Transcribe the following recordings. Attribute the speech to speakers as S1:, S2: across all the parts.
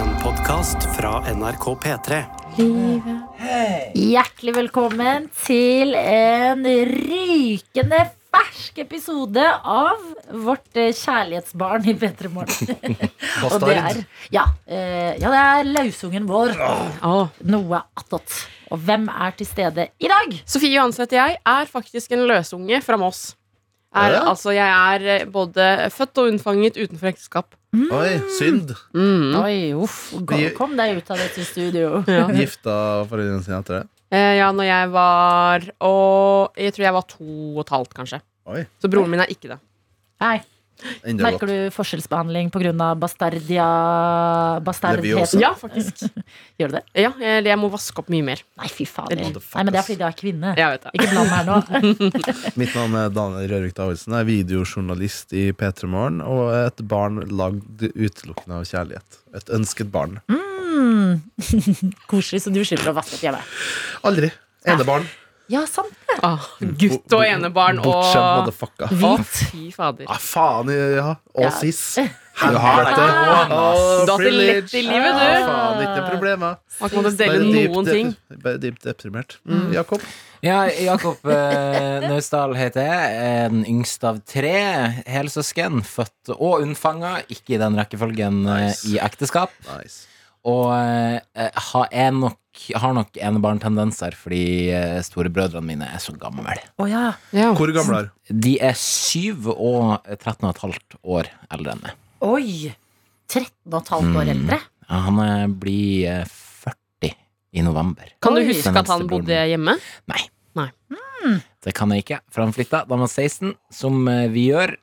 S1: podkast fra NRK P3.
S2: Hjertelig velkommen til en rykende fersk episode av vårt eh, kjærlighetsbarn i P3 Morgen. Og det er, ja, eh, ja, det er lausungen vår. Noe attåt. Og hvem er til stede i dag?
S3: Sofie Johansen heter jeg, er faktisk en løsunge fra Moss. Er,
S4: Ja.
S3: Altså, jeg er eh, både født og unnfanget utenfor ekteskap.
S4: Oi, synd.
S3: Mm.
S2: Oi, uff. Kom,
S4: Vi-
S2: kom deg ut av dette studio.
S3: Ja.
S4: Gifta foreldrene sine etter det.
S3: Eh, ja, når jeg var Og jeg tror jeg var to og et halvt, kanskje.
S4: Oi,
S3: Så broren min er ikke det.
S2: Nei,
S4: enda
S2: merker
S4: godt.
S2: du forskjellsbehandling pga. bastardia...
S4: vi også.
S2: Bastardheten?
S3: Ja, faktisk.
S2: Gjør du det?
S3: Ja, jeg, jeg må vaske opp mye mer.
S2: Nei, fy fader.
S3: Det-
S2: Nei, men det er fordi du er kvinne.
S3: Jeg vet det.
S2: Ikke bland meg nå.
S4: Mitt navn er Daniel Rørvik Davidsen. Jeg er videojournalist i P3 Morgen og et barn lagd utelukkende av kjærlighet. Et ønsket barn.
S2: Mm. Koselig, så du skylder å vaske opp hjemme.
S4: Aldri. Enebarn.
S2: Ja, sant.
S3: Ah, gutt og enebarn og
S4: Bortskjemt motherfucka.
S3: Å,
S2: Hvit.
S3: fy fader.
S4: Ah, faen, ja.
S2: Ja.
S4: Og sis.
S3: Ah,
S4: Helvete. Å,
S3: Du har
S4: Ah,
S3: hatt det lett i
S4: privilege.
S3: livet,
S4: Ah,
S3: du.
S4: faen, ikke problemer.
S3: Man kan ikke dele
S4: Bare dypt
S3: noen ting. Mm.
S4: dep- Bare dypt deprimert. Mm, Jakob.
S5: Ja, Jakob eh, Naustdal heter jeg. Eh, Den yngste av tre helsøsken. Født og unnfanga, ikke i den rekkefølgen eh,
S4: Nice.
S5: i ekteskap.
S4: Nice.
S5: Og eh, har, er nok, har nok enebarntendenser fordi eh, storebrødrene mine er så gamle.
S2: Å ja.
S3: Ja.
S4: Hvor gammel er du?
S5: De er syv og 13 og et halvt år eldre enn meg.
S2: Oi! 13 og et halvt år
S5: Mm.
S2: eldre.
S5: Ja, Han eh, blir eh, 40 i november.
S3: Kan du
S2: Oi.
S3: huske at han bodde hjemme?
S5: Det kan jeg ikke, for han flytta da han var 16, som eh, vi gjør.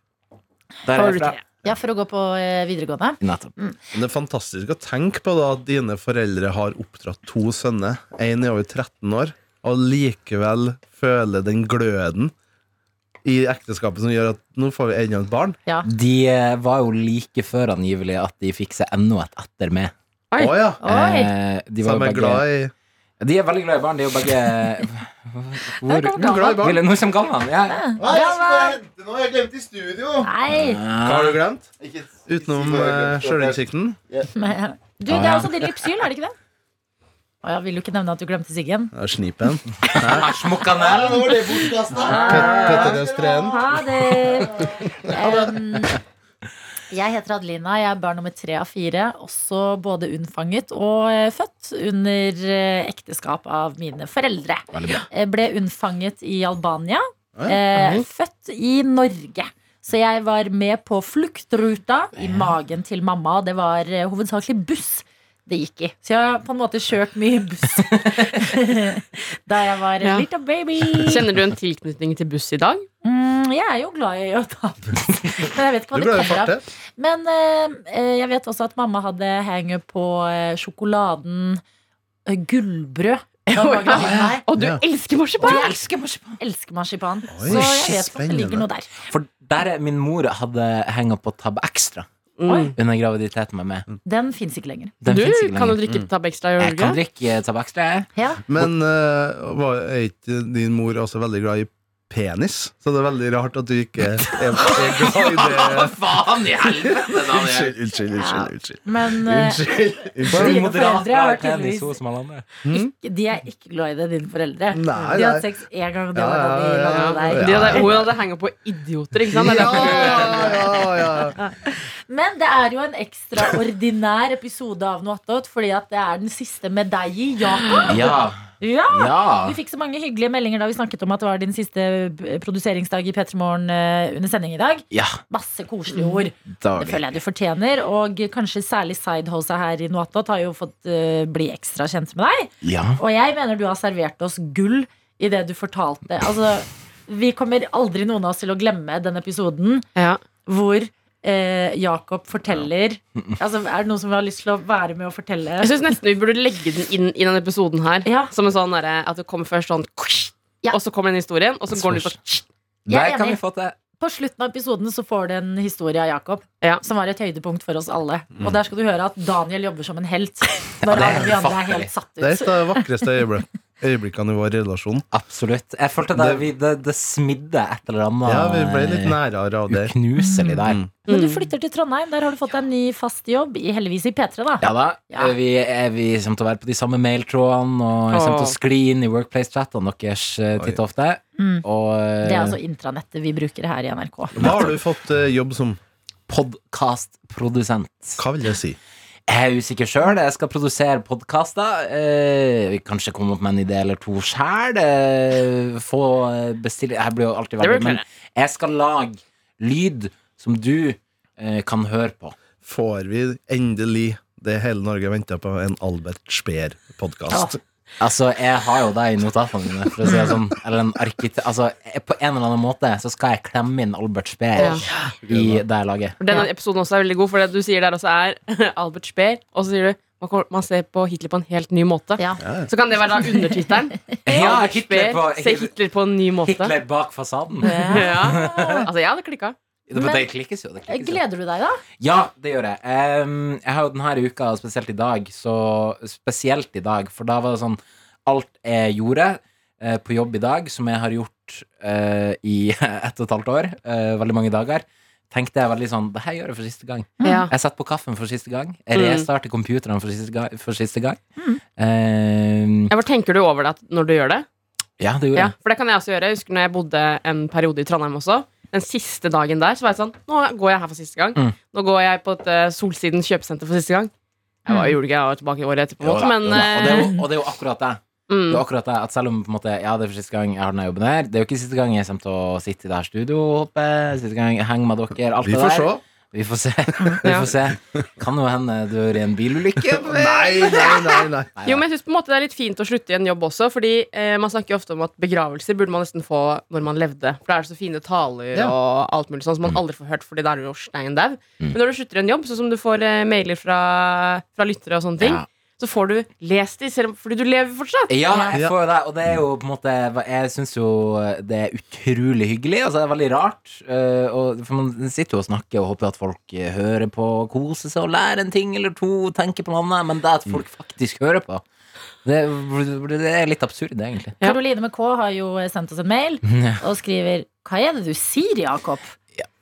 S5: Der
S3: Har
S5: er
S3: du
S5: jeg fra.
S3: tre?
S2: Ja, for å gå på eh, videregående.
S5: Nettopp.
S4: Men Det er fantastisk å tenke på da at dine foreldre har oppdratt to sønner. En er over 13 år, og likevel føler den gløden i ekteskapet som gjør at nå får vi enda et barn.
S5: De eh, var jo like før angivelig at de fikk seg enda et etter meg.
S3: Oi.
S4: Å ja!
S2: Oi!
S5: Eh, de,
S4: Så
S5: var jo
S4: de er
S5: begge,
S4: glad i
S5: de er veldig glad i barn. De er jo begge
S2: kommer
S5: Hvor
S2: Galvan.
S4: Glad i barn.
S5: Ville, Nå kommer Galvan. Ja.
S6: Nei, jeg skulle bare hente noe. Jeg glemte i studio.
S2: Nei!
S4: Hva har du glemt?
S6: Ikke-
S4: Utenom
S6: ikke-
S4: eh, sjølinnsikten?
S2: Men- Du,
S5: Ja,
S2: det er
S5: ja.
S2: også din lypsyl, er det ikke det? Å, jeg vil jo ikke nevne at du glemte siggen.
S4: Ja, Snipen.
S6: Nei, nå var det bortkasta.
S4: Petter Nøs Treen.
S2: Ha det! Em, jeg heter Adelina. Jeg er barn nummer tre av fire. Også både unnfanget og eh, født under eh, ekteskap av mine foreldre.
S5: Veldig bra.
S2: Eh, Ble unnfanget i Albania.
S4: Ja,
S2: Eh, født i Norge. Så jeg var med på fluktruta i magen til mamma. Det var eh, hovedsakelig buss det gikk i. Så jeg har på en måte kjørt mye buss da jeg var
S3: Ja.
S2: en liten baby.
S3: Kjenner du en tilknytning til buss i dag?
S2: Mm, jeg er jo glad i å ta buss. Men jeg vet ikke hva det
S4: Du er glad i
S2: kommer av.
S4: farte.
S2: Men eh, eh, jeg vet også at mamma hadde hangup på eh, sjokoladen eh, gullbrød. Da hun var gravid med meg.
S3: Å, du
S4: Ja.
S3: elsker marsipan!
S2: Jeg elsker marsipan. Elsker marsipan.
S4: Oi,
S2: så jeg vet at det
S4: spennende.
S2: ligger noe der.
S5: For der er min mor hadde henga på Tab Extra
S3: Mm.
S5: under graviditeten med meg.
S2: Den fins ikke lenger.
S5: Den
S3: du
S5: finnes ikke
S3: kan jo
S5: lenger. Mm.
S3: drikke Tab Extra,
S5: Jeg
S3: gjør du ikke?
S5: kan drikke Tab Extra, jeg.
S2: Ja.
S4: Men eh, var, er ikke din mor også veldig glad i penis? Så det er veldig rart at du ikke er, er glad i det.
S5: faen i helvete,
S4: Unnskyld, unnskyld, unnskyld. unnskyld.
S2: Men eh,
S4: Unnskyld.
S5: Bare
S2: Dine
S5: moderat
S2: foreldre har
S5: glad i penis,
S2: tydeligvis-
S5: hun som alle andre.
S2: de er ikke glad i det, dine foreldre.
S4: Nei,
S2: de har
S4: nei.
S2: hatt sex én gang, og det
S4: Ja,
S2: var da de
S4: ja, ja,
S2: landet
S4: ja.
S2: deg.
S3: De hadde, hun hadde hengt på idioter, ikke sant? Det er derfor
S4: Ja, ja, ja.
S2: Men det er jo en ekstraordinær episode av Noe attåt, fordi at det er den siste med deg i Jakob.
S5: Ja,
S2: Ja.
S5: ja.
S2: Vi fikk så mange hyggelige meldinger da vi snakket om at det var din siste b- produseringsdag i P3 Morgen eh, under sending i dag.
S5: Ja,
S2: Masse koselige ord.
S5: da
S2: Det føler jeg du fortjener. Og kanskje særlig sidehosa her i Noatot har jo fått eh, bli ekstra kjent med deg.
S5: Ja.
S2: Og jeg mener du har servert oss gull i det du fortalte. Altså, vi kommer aldri noen av oss til å glemme den episoden
S3: Ja.
S2: hvor eh, Jakob forteller Altså, er det noen som har lyst til å være med og fortelle?
S3: Jeg syns nesten vi burde legge den inn i denne episoden her.
S2: Ja.
S3: Som en sånn derre at det kommer først sånn
S2: Ja.
S3: Og så kommer den historien, og så går den ut og
S2: Jeg er
S5: Der kan
S2: enig.
S5: vi få til.
S2: På slutten av episoden så får du en historie av Jakob.
S3: Ja.
S2: Som var et høydepunkt for oss alle. Og der skal du høre at Daniel jobber som en helt. Når
S5: det er
S2: alle vi andre er
S5: ufattelig.
S2: helt satt
S4: Det er
S2: ut.
S4: et av de vakreste øyeblikk- øyeblikkene i vår relasjon.
S5: Absolutt. Jeg følte det,
S4: Det-
S5: vi, det, det smidde et eller annet eh,
S4: Ja, vi ble litt nærere av det. Mm.
S5: uknuselig der.
S2: Men du flytter til Trondheim. Der har du fått deg en ny fast jobb, i heldigvis i P3, da.
S5: Ja da.
S2: Ja.
S5: Eh, Vi, er, vi kommer til å være på de samme mailtrådene, og jeg kommer til å
S3: Åh.
S5: skli inn i workplace-chattene deres eh, titt og ofte.
S2: Mm.
S5: Og eh,
S2: Det er altså intranettet vi bruker her i NRK.
S4: Hva har du fått eh, jobb som?
S5: podkastprodusent.
S4: Hva vil jeg si?
S5: Jeg er usikker sjøl. Jeg skal produsere podkaster. Eh, vi kanskje komme opp med en idé eller to sjæl. Eh, få eh, bestille Jeg blir jo alltid
S3: Det blir
S5: veldig Men
S3: klart.
S5: jeg skal lage lyd som du eh, kan høre på.
S4: Får vi endelig det hele Norge venta på, en Albert Speer-podkast?
S5: Altså, jeg har jo deg i notatene mine, for å si det sånn. Eller en arkitekt Altså, jeg- på en eller annen måte så skal jeg klemme inn Albert Speer i det jeg lager.
S3: Denne episoden også er veldig god, for det du sier der også er Albert Speer. Og så sier du man kommer- man ser på Hitler på en helt ny måte.
S2: Ja.
S3: Så kan det være da undertittelen.
S5: Ja,
S3: Albert
S5: Hitler
S3: Speer,
S5: på-
S3: Se Hitler på en ny måte.
S5: Hitler bak fasaden.
S3: Ja. Altså, jeg hadde klikka.
S5: Det, det klikkes jo. Det klikkes jo.
S2: Eh, Gleder du deg, da?
S5: Ja, det gjør jeg. Em, jeg har jo denne uka, og spesielt i dag, så Spesielt i dag, for da var det sånn Alt jeg gjorde eh, på jobb i dag, som jeg har gjort eh, i ett og et halvt år, eh, veldig mange dager, tenkte jeg veldig sånn Det her gjør jeg for siste gang.
S3: Ja.
S5: Jeg satt på kaffen for siste gang. Jeg
S3: Mm.
S5: restarter computeren for siste gang. For siste gang. Em,
S3: Ja, for tenker du over det at- når du gjør det?
S5: ja, det gjorde
S3: Ja,
S5: jeg.
S3: for det kan jeg også gjøre. Jeg husker når jeg bodde en periode i Trondheim også. Den siste dagen der så var jeg sånn Nå går jeg her for siste gang.
S5: Mm.
S3: Nå går jeg på et eh, Solsiden kjøpesenter for siste gang. Jeg var, gjorde ikke jeg var tilbake i året etter, på en
S5: Jo Mm. da,
S3: måte, men
S5: jo da. Og, det er
S3: eh,
S5: jo, og det er jo akkurat det. Det
S3: mm,
S5: er akkurat det, at selv om på en måte, ja, det er for siste gang jeg har denne jobben her Det er jo ikke siste gang jeg kommer til å sitte i det her studio, håper jeg. Siste gang jeg henger med dere. Alt
S4: Vi
S5: det
S4: får
S5: der.
S4: se.
S5: Vi får se. Vi
S3: Ja.
S5: får se. Kan jo hende du er i en bilulykke.
S4: Nei, nei, nei. nei.
S3: Jo, men jeg synes på en måte det er litt fint å slutte i en jobb også, fordi eh, man snakker jo ofte om at begravelser burde man nesten få når man levde. For da er det så fine taler
S4: Ja.
S3: og alt mulig sånn som
S5: Mm.
S3: man aldri får hørt, fordi da er du jo stein dau. Men når du slutter i en jobb, sånn som du får eh, mailer fra, fra lyttere og sånne ting,
S5: Ja.
S3: så får du lest de, selv om, fordi du lever fortsatt.
S5: Ja, jeg får jo det. Og det er jo på en måte Jeg syns jo det er utrolig hyggelig. Altså, det er veldig rart. eh, og, for man sitter jo og snakker og håper at folk eh, hører på, koser seg og lærer en ting eller to, tenker på noe annet, men det at folk faktisk hører på, det, det er litt absurd, egentlig.
S3: Ja.
S2: Karoline med K har jo eh, sendt oss en mail og skriver Hva er det du sier, Jakob?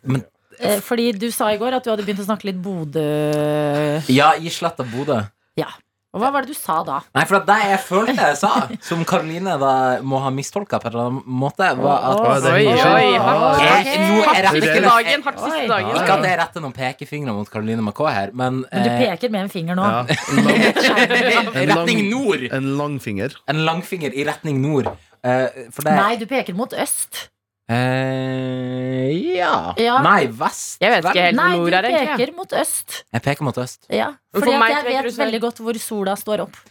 S5: men-
S2: Eh, Fordi du sa i går at du hadde begynt å snakke litt Bodø
S5: Ja, i sletta Bodø.
S2: Ja. Og hva var det du sa da?
S5: Nei, for at det jeg følte jeg sa, som Karoline da må ha mistolka på en eller annen måte, var at
S4: Å, det er
S3: Oi,
S4: hyggelig.
S3: oi, hardt.
S4: Ja,
S5: Jeg- nå er
S3: Hardt
S5: jeg-
S3: siste dagen. Hardt
S2: Oi.
S3: siste dagen.
S5: Ikke at jeg retter noen pekefingre mot Karoline Macau her, men,
S2: Men du
S5: eh,
S2: peker med en finger nå.
S4: Ja, en lang-
S5: i retning nord!
S4: En langfinger.
S5: En langfinger i retning nord. Eh, for det
S2: Nei, du peker mot øst.
S5: Eh, ja.
S2: Ja.
S5: Nei, vest.
S3: Jeg vet ikke helt
S2: Nei,
S3: hvor
S2: du
S3: nord er, egentlig.
S2: peker mot øst.
S5: Jeg peker mot øst.
S2: Ja.
S3: Men for
S2: Fordi
S3: meg
S2: at jeg
S3: peker du
S2: vet
S3: sør.
S2: veldig godt hvor sola står opp.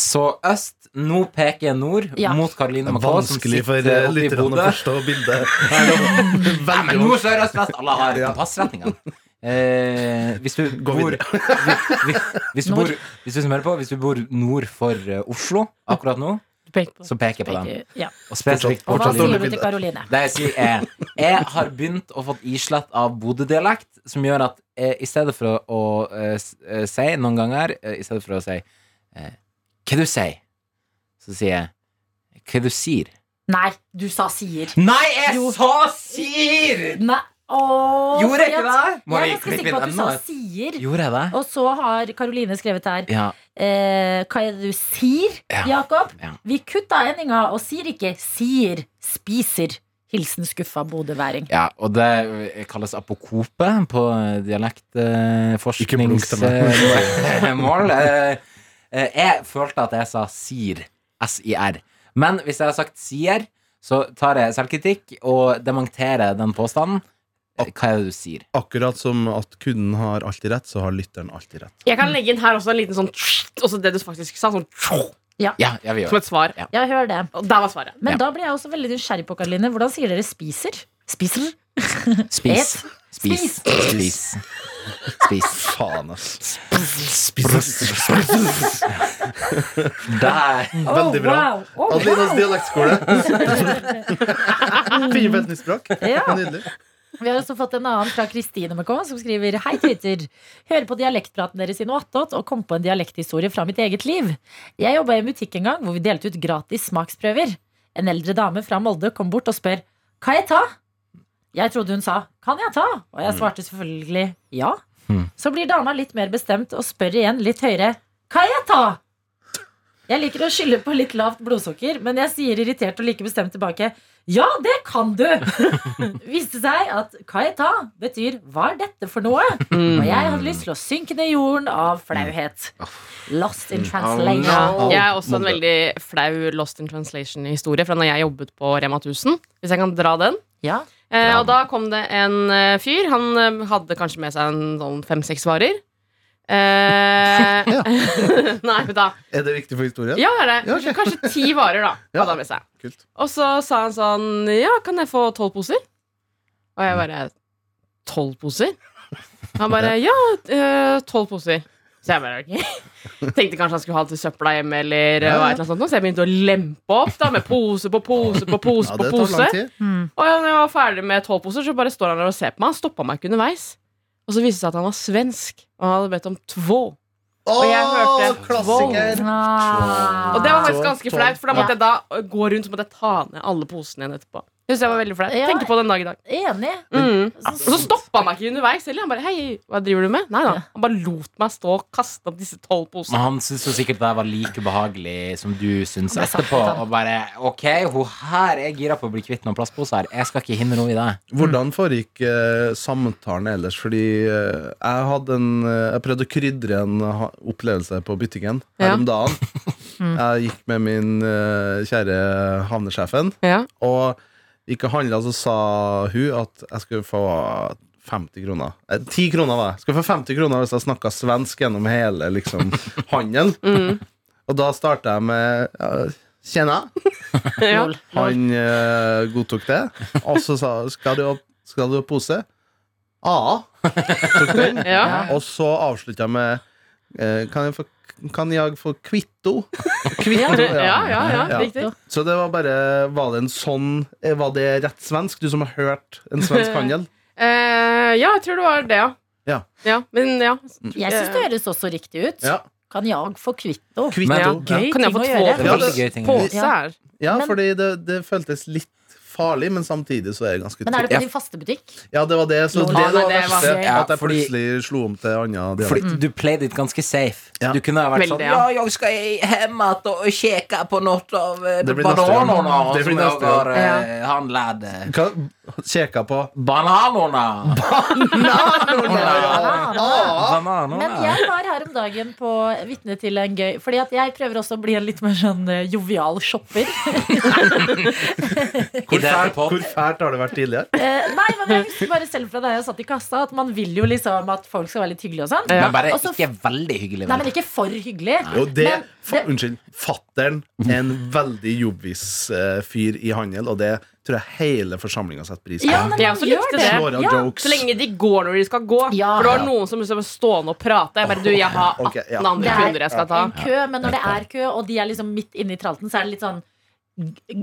S5: Så øst. Nå peker jeg nord,
S2: Ja.
S5: mot Karoline
S4: Det er
S5: Macau, som
S4: vanskelig for
S5: sitter
S4: eh,
S5: oppe i
S4: lytterne å
S5: Bodø.
S4: forstå bildet.
S5: Nei, men
S4: Veldig
S5: nord, sør, øst, vest. Alle har kompassretningene. Eh, hvis du
S4: Gå
S5: bor,
S4: videre.
S5: hvis, hvis, du
S2: Nord.
S5: bor hvis, du som hører på, hvis du bor nord for eh, Oslo akkurat nå, så peker jeg på den.
S2: Peker- Ja.
S5: Og spesifikt
S2: Og hva
S5: Portalien.
S2: sier
S4: dårlig
S2: du til
S4: bilde.
S2: Karoline?
S5: Det jeg sier er Jeg har begynt å fått islett av Bodø-dialekt, som gjør at eh, i stedet for å, å eh, s- eh, si noen ganger eh, I stedet for å si eh, Hva du sier? Så sier jeg Hva du sier?
S2: Nei, du sa sier.
S5: Nei, jeg
S2: Jo.
S5: sa sier!
S2: Nei. Åh,
S5: Gjorde jeg
S2: fordi
S5: ikke
S2: at-
S5: det? Må
S2: Jeg er
S5: vi
S2: ganske
S5: klippe
S2: sikker
S5: inn
S2: på at du sa
S5: enda et?
S2: sier.
S5: Gjorde jeg det?
S2: Og så har Karoline skrevet her
S5: Ja.
S2: eh, Hva er det du sier,
S5: Ja.
S2: Jakob?
S5: Ja.
S2: Vi kutta endinga og sier ikke 'sier', 'spiser'. Hilsen skuffa bodøværing.
S5: Ja, og det kalles apokope på
S4: Ikke blunk til
S5: dialektforskningsmål. eh, Jeg følte at jeg sa sir. S-i-r. Men hvis jeg har sagt sier, så tar jeg selvkritikk og dementerer den påstanden. Eh, Hva er det du sier?
S4: Akkurat som at kunden har alltid rett, så har lytteren alltid rett.
S3: Jeg kan legge inn her også en liten sånn Også det du faktisk sa, sånn som
S5: Ja, jeg vil gjøre det.
S3: et svar.
S2: Ja, hør det.
S3: Og der var svaret.
S2: Men
S5: Ja.
S2: da blir jeg også veldig nysgjerrig på, Karoline. Hvordan sier dere 'spiser'? Spiser?
S5: Spis. Spis. Spis. Spis.
S4: Faen, ass.
S5: Der.
S4: Veldig bra.
S2: Wow. Oh,
S4: Adelinas dialektskole. Fire fetningsspråk.
S2: Ja.
S4: Nydelig.
S2: Vi har også fått en annen fra Kristine MK, som skriver Hei, Twitter. Hører på dialektpraten deres i noe attåt og kom på en dialekthistorie fra mitt eget liv. Jeg jobba i en butikk en gang hvor vi delte ut gratis smaksprøver. En eldre dame fra Molde kom bort og spør Kan jeg ta? Jeg trodde hun sa Kan jeg ta? Og
S3: Mm.
S2: jeg svarte selvfølgelig ja.
S5: Mm.
S2: Så blir dama litt mer bestemt og spør igjen litt høyere Kan jeg ta? Jeg liker å skylde på litt lavt blodsukker, men jeg sier irritert og like bestemt tilbake Ja, det kan du! viste seg at Kaita betyr 'hva er dette for noe?'
S3: Mm.
S2: Og jeg hadde lyst til å synke ned i jorden av flauhet. Lost
S3: Mm.
S2: in translation.
S6: Oh, no.
S3: Jeg er også en
S6: Molde.
S3: veldig flau Lost in Translation-historie fra når jeg jobbet på Rema 1000. Hvis jeg kan dra den.
S2: Ja.
S3: Eh, og da kom det en eh, fyr. Han eh, hadde kanskje med seg en sånn fem-seks varer. Eh, Nei, men da
S4: Er det viktig for historien?
S3: Ja, det er det.
S4: Ja,
S3: Kanskje, kanskje ti varer, da.
S4: Ja.
S3: Hadde han med seg.
S4: Kult.
S3: Og så sa han sånn Ja, kan jeg få tolv poser? Og
S4: Mm.
S3: jeg bare Tolv poser? Han bare Ja, eh, tolv poser. Så jeg bare ok. Tenkte kanskje han skulle ha det til søpla hjemme, eller
S4: Ja,
S3: eh,
S4: ja.
S3: hva, et eller annet sånt. noe. Så jeg begynte å lempe opp da med pose på pose på pose
S4: Ja,
S3: på
S4: det tar
S3: pose.
S4: lang tid.
S3: Og når jeg var ferdig med tolv poser, så bare står han der og ser på meg. Han stoppa meg ikke underveis. Og så viste det seg at han var svensk, og han hadde bedt om två. Og jeg hørte
S4: Åh, klassiker!
S2: Ah.
S3: Og det var faktisk
S4: Tolv,
S3: ganske
S4: tolv.
S3: flaut, for da
S2: Ja.
S3: måtte jeg da gå rundt så måtte jeg ta ned alle posene igjen etterpå. Jeg synes jeg var veldig flaut.
S2: Ja.
S3: Tenkte på den dag i dag.
S2: Enig.
S3: Mm.
S4: Ah.
S2: Sånn-
S3: Og så stoppa han meg ikke underveis heller. Han bare hei, hva driver du med? Nei da. Han bare lot meg stå og kaste opp disse tolv
S5: Men
S3: posene.
S5: han syntes jo sikkert det var like ubehagelig som du syns
S2: ble satt
S5: etterpå.
S2: ut, han.
S5: Og bare OK, hun her er gira på å bli kvitt noen plastposer. Jeg skal ikke hindre henne i det.
S4: Hvordan foregikk eh, samtalen ellers? Fordi eh, jeg hadde en eh, Jeg prøvde å krydre en ha- opplevelse på butikken her
S3: Ja.
S4: om dagen. Jeg gikk med min eh, kjære havnesjefen,
S3: Ja.
S4: og gikk og handla, så sa hun at jeg skulle få 50 kroner. Eh, 10 kroner, var jeg. Skulle få 50 kroner hvis jeg snakka svensk gjennom hele liksom, handelen. Og da starta jeg med ja, Tjena.
S3: Ja.
S4: Han eh, godtok det. Og så sa han skal du ha skal du ha pose. Ja. Tok den.
S3: Ja.
S4: Og så avslutta jeg med eh, kan, jeg få, kan jeg få kvitto? Kvitto,
S3: Ja, ja, ja, riktig.
S4: Så det var bare Var det en sånn eh, Var det rett svensk? Du som har hørt en svensk handel?
S3: Eh, ja, jeg tror det var det, ja.
S4: Ja.
S3: men ja.
S2: Jeg syns det høres også riktig ut.
S4: Ja.
S2: Kan jag få kvitto?
S4: Kvitto.
S5: Men-
S3: Ja.
S4: Ja,
S2: Gøy
S3: Kan
S2: ting
S3: jeg få
S2: å
S3: två
S2: gjøre.
S4: Ja,
S5: Veldig
S4: det-
S5: gøy ting.
S3: poser her?
S4: ja
S2: Men-
S4: fordi det, det føltes litt farlig, men samtidig så er det ganske
S2: Men er det
S4: trygt.
S2: på din faste butikk?
S4: Ja, det var det. Så
S2: Ja,
S4: det,
S2: nei,
S4: var
S3: det
S4: det
S3: var-
S4: verste. At
S5: Ja,
S4: jeg
S5: fordi-
S4: plutselig slo om til annen dialekt.
S2: Mm.
S5: Fordi du played it ganske safe.
S4: Ja.
S5: Du kunne ha vært
S3: Veldig,
S5: sånn
S3: ja.
S5: Ja, jeg skal hjem att og kikke på noe av eh,
S4: Det blir neste gang.
S5: bananene
S4: Det blir
S5: som
S4: neste
S5: jeg har
S4: gang.
S5: eh, handlet.
S4: Hva kjeka på?
S5: Bananene! Bananene!
S2: Men
S5: Bananene.
S2: jeg var her om dagen på vitne til en gøy Fordi at jeg prøver også å bli en litt mer sånn eh, jovial shopper.
S5: I denne
S4: Hvor
S5: pod-
S4: fælt har det vært tidligere?
S2: Eh, nei, men jeg husker bare selv fra da jeg satt i kassa, at man vil jo liksom at folk skal være litt hyggelige og sånn.
S5: Men bare
S2: Og så-
S5: ikke veldig hyggelig.
S2: Nei, men
S5: vel?
S2: ikke for hyggelig.
S4: Jo, det,
S2: Men
S4: fa
S2: det-
S4: Unnskyld. Fattern er en veldig jobbvis eh, fyr i handel, og det tror jeg hele forsamlinga setter pris på.
S2: Ja, men
S3: Jeg
S2: han
S3: også
S2: gjør
S3: likte
S2: det.
S3: det.
S4: Slår av
S2: Ja.
S4: jokes.
S3: Så lenge de går når de skal gå.
S2: Ja.
S3: For det var noen som liksom var stående og prate. Jeg bare, du, jeg har 18
S4: Ok, ja.
S2: Det
S3: andre
S2: er-
S3: kunder jeg skal ta.
S2: En kø, men når det er kø, og de er liksom midt inne i tralten, så er det litt sånn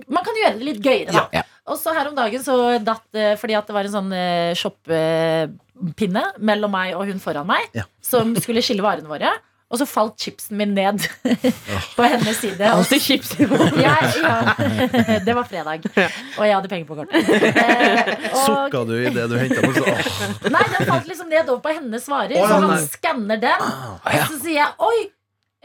S2: man kan gjøre det litt gøyere, da.
S5: Ja. Ja.
S2: Og så her om dagen så datt eh, Fordi at det var en sånn eh, shoppinne mellom meg og hun foran meg,
S4: Ja.
S2: som skulle skille varene våre. Og så falt chipsen min ned på hennes side. Og
S3: Alltid chips i munnen.
S2: jeg, ja, det var fredag, og jeg hadde penger på kortet. Eh, og,
S4: Sukka du i det du henta på? Så, åh,
S2: nei, den falt liksom ned over på hennes varer,
S4: Å, ja,
S2: så
S4: nei.
S2: han skanner den. Og så sier jeg 'oi,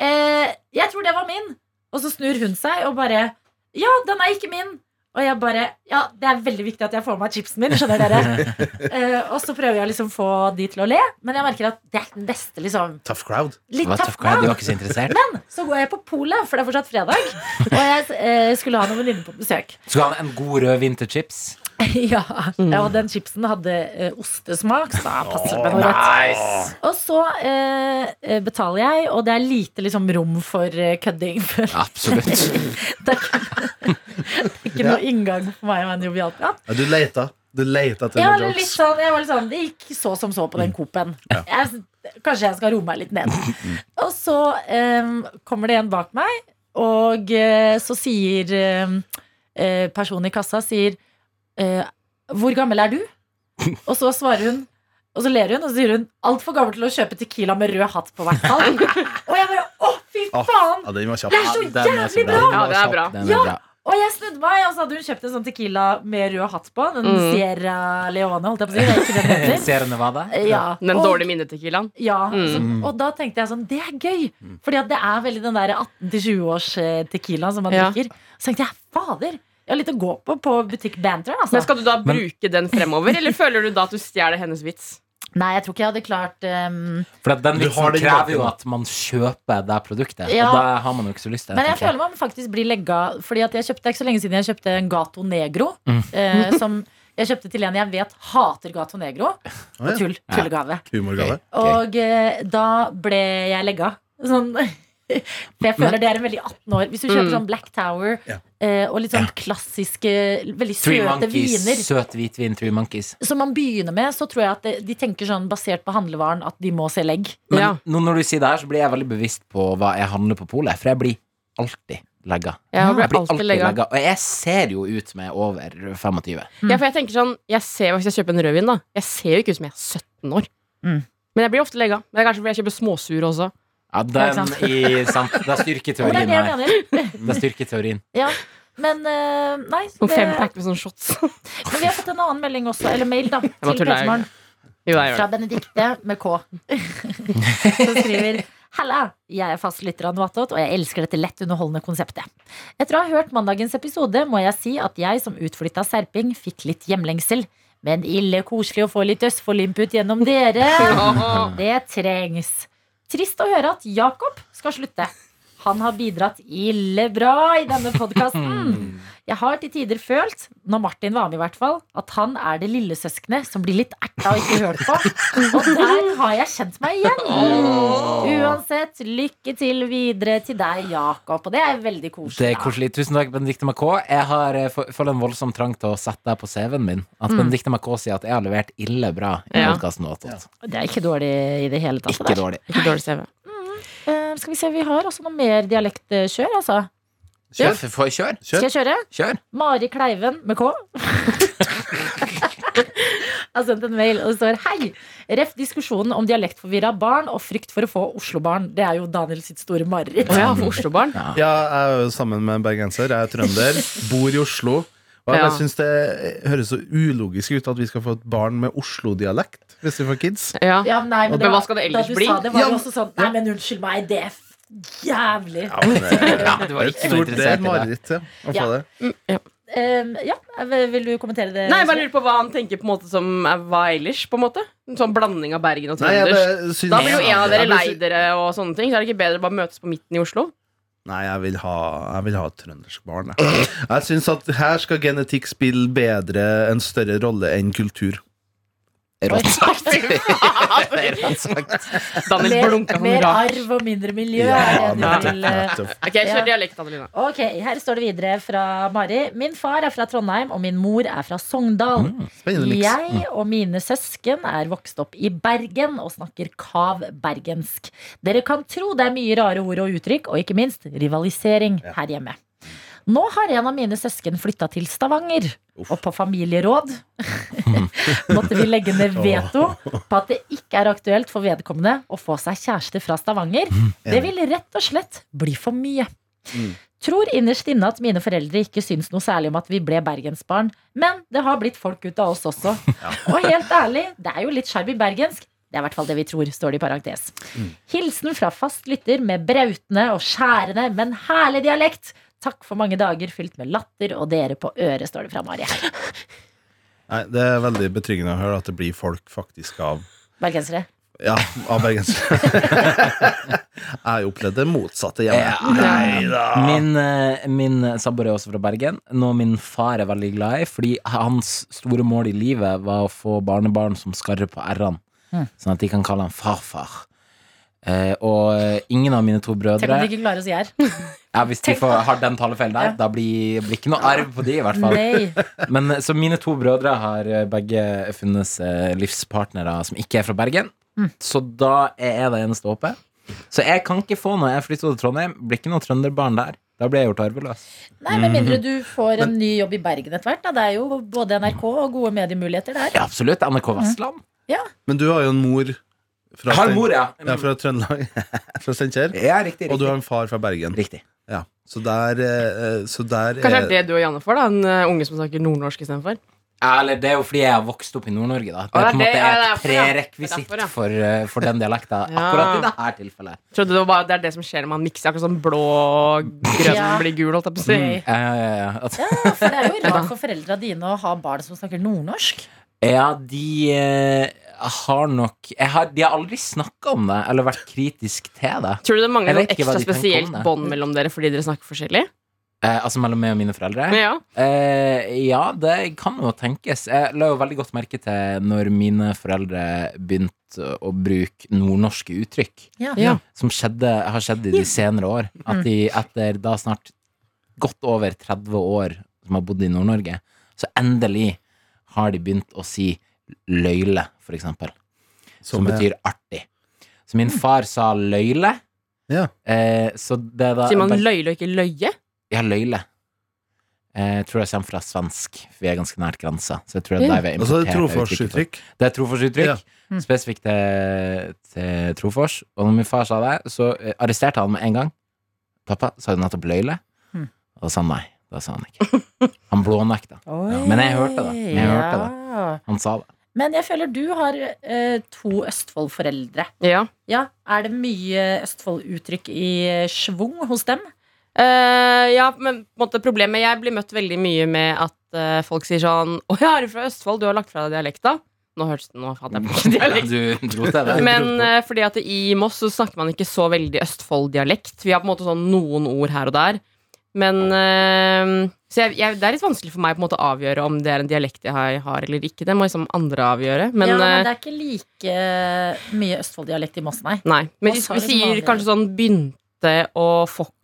S2: eh, jeg tror det var min'. Og så snur hun seg og bare 'ja, den er ikke min'. Og jeg bare Ja, det er veldig viktig at jeg får med meg chipsen min, skjønner dere. eh, og så prøver jeg liksom å få de til å le, men jeg merker at det er ikke den beste, liksom.
S4: tough crowd.
S2: Litt
S5: Det var
S2: tøff
S5: tøff, Kaja. Du var ikke så interessert?
S2: Men så går jeg på polet, for det er fortsatt fredag. Og jeg eh, skulle ha noen venninner på besøk.
S5: Skulle ha en god rødvin til chips?
S2: ja,
S5: Mm.
S2: Og den chipsen hadde eh, ostesmak, så jeg passer meg noe rødt. Og så eh, eh, betaler jeg, og det er lite liksom, rom for eh, kødding. føler jeg.
S5: Absolutt.
S2: Det er ikke, det er ikke noe inngang for meg å ha en jovial prat.
S4: Ja, du leita. Du leita til
S2: Jeg var
S4: noen
S2: litt
S4: jokes. Mm.
S2: sånn, jeg var litt sånn, det gikk så som så på den Coop-en. Jeg, kanskje jeg skal roe meg litt ned.
S4: Mm.
S2: Og så em, kommer det en bak meg, og eh, så sier em, eh, personen i kassa sier eh, Hvor gammel er du? Og så svarer hun, og så ler hun, og så sier hun 'altfor gammel til å kjøpe Tequila med rød hatt på hvert fall'. og jeg bare 'å, fy
S4: Ah,
S2: faen'!
S4: Ja, den var kjapp.
S2: Det er så
S5: Den er så
S2: jævlig bra!
S3: Ja, det er bra.
S5: Den
S2: Ja.
S5: er bra.
S2: Og jeg snudde meg, og så hadde hun kjøpt en sånn Tequila med rød hatt på. Den
S3: Mm.
S2: Sierra Leone, holdt jeg på å si. Det er ikke det den heter. Eh,
S5: Sierra Nevada?
S2: Ja.
S3: Den
S2: Og-
S3: dårlige minnetequilaen.
S2: Ja,
S3: Mm.
S2: så- og da tenkte jeg sånn, det er gøy Fordi at det er veldig den der 18-20 års eh, tequila som man
S3: Ja.
S2: drikker Så tenkte jeg, fader, jeg har litt å gå på på butikk Banteren altså.
S3: Men skal du da
S5: Men-
S3: bruke den fremover, eller føler du da at du stjeler hennes vits?
S2: Nei, jeg tror ikke jeg hadde klart ehm,
S5: For at den
S4: Du
S5: liksom
S4: har den
S5: krever
S4: bak,
S5: jo
S4: ja.
S5: at man kjøper det produktet.
S2: Ja.
S5: Og det har man jo ikke så lyst til.
S2: Men jeg
S5: tenker
S2: føler man faktisk blir legga Fordi at jeg kjøpte, det er ikke så lenge siden jeg kjøpte en Gato Negro eh, Som jeg kjøpte til en jeg vet hater Gato Negro
S4: ja.
S2: Og tull, tullegave
S4: Humorgave.
S2: Og eh, da ble jeg legga. Sånn. For jeg føler det er en veldig 18 år. Hvis du kjøper
S3: Mm.
S2: sånn Black Tower
S4: Ja.
S2: eh, og litt sånn klassiske, veldig
S5: Three
S2: søte
S5: Monkeys,
S2: viner
S5: søt hvitvin Three Monkeys.
S2: som man begynner med, så tror jeg at de- de tenker sånn basert på handlevaren at de må se legg.
S5: Men
S3: Ja.
S5: nå når du sier det her, så blir jeg veldig bevisst på hva jeg handler på polet. For jeg blir alltid legga.
S3: Jeg blir
S5: Jeg blir
S3: alltid legga.
S5: Og jeg ser jo ut som jeg er over 25.
S3: Ja, for jeg tenker sånn jeg ser, Hvis jeg kjøper en rødvin, da Jeg ser jo ikke ut som jeg er 17 år.
S2: Mm.
S3: Men jeg blir ofte legga. Men det er kanskje fordi jeg kjøper småsure også.
S5: Ja,
S2: Ikke
S5: den
S2: sant?
S5: i sant. Det er
S2: Og det er
S5: styrketeorien
S2: det jeg
S5: her.
S2: mener.
S5: Det er styrketeorien.
S2: Ja. Men eh, nei.
S3: Sånn
S2: det-
S3: fempack med sånn shots.
S2: men vi har fått en annen melding også, eller mail, da. Til
S3: tuller, jeg.
S2: Petermorgen.
S3: Jo, jeg gjør
S2: Fra
S3: det.
S2: Benedikte med K. Som skriver Halla, jeg er fast lytter av Noatot, og jeg elsker dette lett underholdende konseptet. Etter å ha hørt mandagens episode må jeg si at jeg som utflytta serping fikk litt hjemlengsel. Men ille koselig å få litt Østfold-input gjennom dere. Det trengs. Trist å høre at Jakob skal slutte. Han har bidratt ille bra i denne
S5: Hmm.
S2: podkasten. Jeg har til tider følt, når Martin var med i hvert fall, at han er det lille søskenet som blir litt erta og ikke hørt på. Og der har jeg kjent meg igjen. Uansett, lykke til videre til deg, Jakob. Og det er veldig koselig.
S5: Det er
S2: da.
S5: koselig. Tusen takk, Benedicte MK. Jeg har eh, fø- føler en voldsom trang til å sette deg på CV-en min. At
S2: Mm.
S5: Benedicte MK sier at jeg har levert ille bra i
S3: Ja.
S5: podkasten Åtot.
S2: Det er ikke dårlig i det hele tatt. det
S5: Ikke
S2: der.
S5: dårlig.
S3: Ikke dårlig CV.
S2: Eh, skal vi se, vi har også noe mer dialektkjør, altså.
S5: Kjør. Får jeg kjøre?
S2: Skal jeg kjøre?
S5: Kjør.
S2: Mari Kleiven med K. har sendt en mail og det står Hei! Ref diskusjonen om dialektforvirra barn og frykt for å få Oslo-barn. Det er jo Daniel sitt store mareritt.
S3: Å ja, for Oslo-barn.
S4: Ja, jeg er jo sammen med en bergenser. Jeg er trønder, bor i Oslo. Og jeg
S3: Ja.
S4: bare synes det høres så ulogisk ut at vi skal få et barn med Oslo-dialekt hvis vi får kids.
S3: Ja.
S2: Ja, nei, men
S3: Men
S2: det
S3: hva
S2: var,
S3: skal det
S2: da
S3: ellers
S2: du
S3: bli?
S2: sa det, var
S4: Ja,
S2: det også sånn Nei, men unnskyld meg, det er f- jævlig.
S4: Ja, men, eh,
S5: Ja, du var
S4: det er et
S5: ikke noe
S4: stort- det er et
S5: interessert i det.
S4: mareritt, ja. å få
S2: Ja.
S4: det.
S2: Ehm, ja, vil vil du kommentere det?
S3: Nei, jeg bare lurer på hva han tenker på en måte som er hva ellers. på en måte En sånn blanding av Bergen og
S4: Nei, jeg
S3: trønders.
S4: bare synes-
S3: Da blir jo en av dere
S4: Jeg bare
S3: lei
S4: synes-
S3: dere og sånne ting. Så er det ikke bedre å bare møtes på midten i Oslo?
S4: Nei, jeg vil ha, jeg vil ha et trøndersk barn. Jeg, jeg syns at her skal genetikk spille bedre en større rolle enn kultur.
S5: Rått sagt. Rått sagt.
S3: Daniel
S2: Mer,
S3: blunka sånn
S2: mer
S3: rart.
S2: arv og mindre miljø. er det
S3: men-
S2: du vil, eh,
S3: Ok, kjør
S2: Ja.
S3: dialekt, Adelina.
S2: Ok, her står det videre fra Mari. Min far er fra Trondheim, og min mor er fra Sogndal.
S3: Mm.
S4: Spennende miks.
S2: Jeg og mine søsken er vokst opp i Bergen og snakker kav-bergensk. Dere kan tro det er mye rare ord og uttrykk, og ikke minst rivalisering her hjemme. Nå har en av mine søsken flytta til Stavanger, og på familieråd måtte vi legge ned veto på at det ikke er aktuelt for vedkommende å få seg kjæreste fra Stavanger. Det vil rett og slett bli for mye. Tror innerst inne at mine foreldre ikke syns noe særlig om at vi ble bergensbarn, men det har blitt folk ut av oss også. Og helt ærlig, det er jo litt sjarm i bergensk. Det er i hvert fall det vi tror, står det i parentes. Hilsen fra fast lytter med brautende og skjærende, men herlig dialekt. Takk for mange dager fylt med latter og dere på øret, står det fra Mari. Hei,
S4: Nei, det er veldig betryggende å høre at det blir folk faktisk av
S2: Bergensere.
S4: Ja, av bergensere. jeg har jo opplevd det motsatte hjemme. Nei da.
S5: Min, eh, min samboer er også fra Bergen, noe min far er veldig glad i. Fordi hans store mål i livet var å få barnebarn som skarrer på r-ene.
S2: Mm.
S5: Sånn at de kan kalle han farfar. Eh, og ingen av mine to
S2: Tenk om
S5: brødre
S2: de ikke klarer å si her.
S5: ja, Hvis de
S2: tenk-
S5: får, har den talefeilen der, da blir det ikke noe arv på de, i hvert fall.
S2: Nei.
S5: Men eh, så mine to brødre har eh, begge funnet seg livspartnere som ikke er fra Bergen.
S3: Mm.
S5: Så da er jeg det eneste håpet. Så jeg kan ikke få noe. Jeg flytter til Trondheim. Blir ikke noe trønderbarn der. Da blir jeg gjort arveløs.
S2: Nei, Med mindre du får en ny jobb i Bergen etter hvert. Da. Det er jo både NRK og gode mediemuligheter der.
S5: Ja, absolutt. NRK Vestland.
S4: Men du har jo en mor fra,
S5: Jeg har mor, ja.
S4: Stein- ja, fra Trøndelag. fra Steinkjer.
S5: Ja, riktig.
S4: Og du
S5: riktig.
S4: har en far fra Bergen.
S5: Riktig.
S4: Ja. Så der, eh, så der
S3: Kanskje
S4: er-
S3: det er det du og Janne får, da? En eh, unge som snakker nordnorsk istedenfor?
S5: Ja, Eller det er jo fordi jeg har vokst opp i Nord-Norge, da. Det
S3: Å,
S5: er
S3: det er det-
S5: på en måte
S3: ja, det er
S5: et
S3: derfor, ja.
S5: prerekvisitt
S3: Det er derfor, ja.
S5: for, eh, for den dialekta.
S3: Ja.
S5: Akkurat i dette tilfellet.
S3: Trodde det var bare det er det som skjer når man mikser. Akkurat sånn blå og grønn
S2: Ja.
S3: blir gul, holdt jeg på å si.
S5: Ja, ja, ja, ja. Eh, At,
S2: Ja, For det er jo rart for foreldra dine å ha barn som snakker nordnorsk.
S5: ja, de eh, har nok jeg har, De har aldri snakka om det, eller vært kritisk til det.
S3: Tror du det mangler
S5: Jeg
S3: noe
S5: vet ikke hva
S3: ekstra
S5: de tenker om
S3: spesielt
S5: det.
S3: bånd mellom dere fordi dere snakker forskjellig?
S5: Eh, altså mellom meg og mine foreldre.
S3: Ja.
S5: Eh, ja, det kan jo tenkes. Jeg la jo veldig godt merke til når mine foreldre begynte å bruke nordnorske uttrykk,
S2: Ja.
S3: Ja.
S5: som skjedde, har skjedd i de senere år. At de etter da snart godt over 30 år som har bodd i Nord-Norge, så endelig har de begynt å si løyle, for eksempel. Som,
S4: er- Mm.
S5: betyr artig. Så min far sa løyle.
S4: Ja.
S5: Eh, så det er da
S3: Sier man løyle og ikke løye?
S5: ja, løyle. Eh, Jeg tror det kommer fra svensk, for vi er ganske nært grensa. Så jeg tror det er der vi har
S4: Altså det er
S5: importert uttrykket fra.
S4: trofarsuttrykk.
S5: Det er troforsuttrykk.
S4: Ja.
S2: Mm.
S5: Spesifikt til, til trofors. Og når min far sa det, så eh, arresterte han med en gang. 'Pappa, sa du nettopp løyle?'
S2: Mm.
S5: Og da sa han nei. Da sa han ikke. Han blånekta. Men jeg hørte det. Jeg hørte det.
S2: Ja.
S5: Han sa det.
S2: Men jeg føler du har eh, to Østfold-foreldre.
S3: Ja.
S2: Ja, Er det mye Østfold-uttrykk i eh, schwung hos dem?
S3: Eh, ja, men på en måte problemet Jeg blir møtt veldig mye med at eh, folk sier sånn Å ja, er du fra Østfold? Du har lagt fra deg dialekta. Nå hørtes det Nå fant jeg på dialekt.
S5: Du dro til det.
S3: Men eh, fordi at i Moss så snakker man ikke så veldig Østfold-dialekt. Vi har på en måte sånn noen ord her og der. Men eh, Så jeg, jeg, det er litt vanskelig for meg på en måte å avgjøre om det er en dialekt jeg har, har eller ikke. Det må liksom andre avgjøre. Men,
S2: ja, men
S3: eh,
S2: det er ikke like mye Østfold-dialekt i Moss, nei.
S3: nei. Men
S2: Moss
S3: vi,
S2: har liksom det
S3: vi
S2: som
S3: sier
S2: avgjør.
S3: kanskje sånn begynte og fokke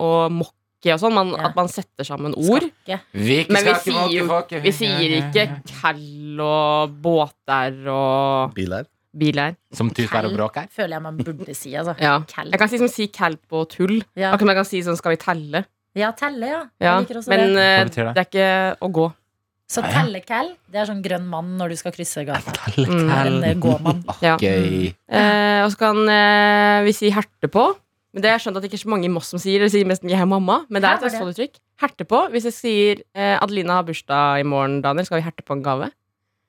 S3: og mokke og sånn. Man,
S2: Ja.
S3: At man setter sammen ord.
S2: Skakke.
S5: vi
S3: Men vi sier jo vi sier ikke kall og båter og
S4: Bil her.
S3: biler.
S5: Som tut og bråk her.
S2: Føler jeg man burde si, altså.
S3: Ja.
S2: Kall.
S3: Jeg kan liksom si kall på tull.
S2: Ja.
S3: Akkurat som jeg kan si sånn skal vi telle.
S2: ja, telle, ja.
S3: Ja.
S2: Jeg liker også
S3: Men
S2: det.
S3: eh,
S5: Hva betyr det?
S3: det er ikke å gå.
S2: Så tellekall, det er sånn grønn mann når du skal krysse gata. En eh,
S5: Mm.
S2: gåmann.
S3: Ja.
S5: Gøy.
S3: Eh, og så kan eh, vi si herte på. Men det har jeg skjønt at det ikke er så mange i Moss som sier. Eller sier mest 'jeg er mamma', men det
S2: Hæ,
S3: er et
S2: var det?
S3: Østfold-uttrykk. Herte på. Hvis jeg sier eh, 'Adelina har bursdag i morgen, Daniel', skal vi herte på en gave?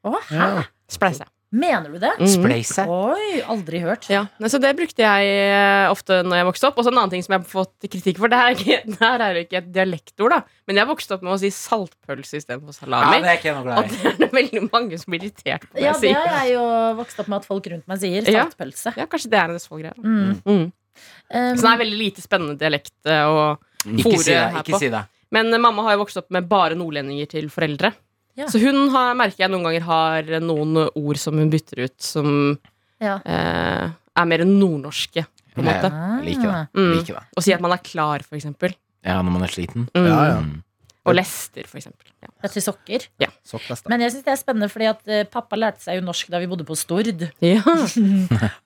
S2: Å, hæ?
S3: Spleise.
S2: Mener du det?
S3: Mhm.
S5: Mm. Spleise.
S2: Oi, aldri hørt.
S3: Ja, Nei, Så det brukte jeg eh, ofte når jeg vokste opp. Og så en annen ting som jeg har fått kritikk for, det her er ikke, det her er jo ikke et dialektord, da. Men jeg vokste opp med å si saltpølse istedenfor
S5: Ja,
S3: salami.
S5: det er ikke jeg
S3: og
S5: noe glad i.
S3: det er det veldig mange som blir irritert på når
S2: Ja,
S3: jeg
S2: det
S3: sier.
S2: har jeg jo vokst opp med at folk rundt meg sier.
S3: Ja.
S2: Saltpølse.
S3: Ja, kanskje det er en Østfold-greie. da.
S2: Mm.
S3: Mm.
S2: Um,
S3: Så det er veldig lite spennende dialekt. eh, Og
S5: Ikke si det.
S3: Fôret her på.
S5: Ikke si det.
S3: Men eh, mamma har jo vokst opp med bare nordlendinger til foreldre.
S2: Ja.
S3: Så hun har, merker jeg noen ganger har noen ord som hun bytter ut, som
S2: Ja.
S3: eh, er mer nordnorske, på en
S5: Ja,
S3: måte.
S2: Ah.
S5: Jeg liker det.
S3: Mm.
S5: Liker det.
S3: Å si at man er klar, for eksempel.
S5: Ja, når man er sliten.
S3: Mm.
S4: Ja, ja.
S5: Mm.
S3: Og lester, for eksempel. Ja.
S2: Dette sokker.
S4: Sokkfest, da.
S2: Men jeg syns det er spennende, fordi at eh, pappa lærte seg jo norsk da vi bodde på Stord.
S3: Ja.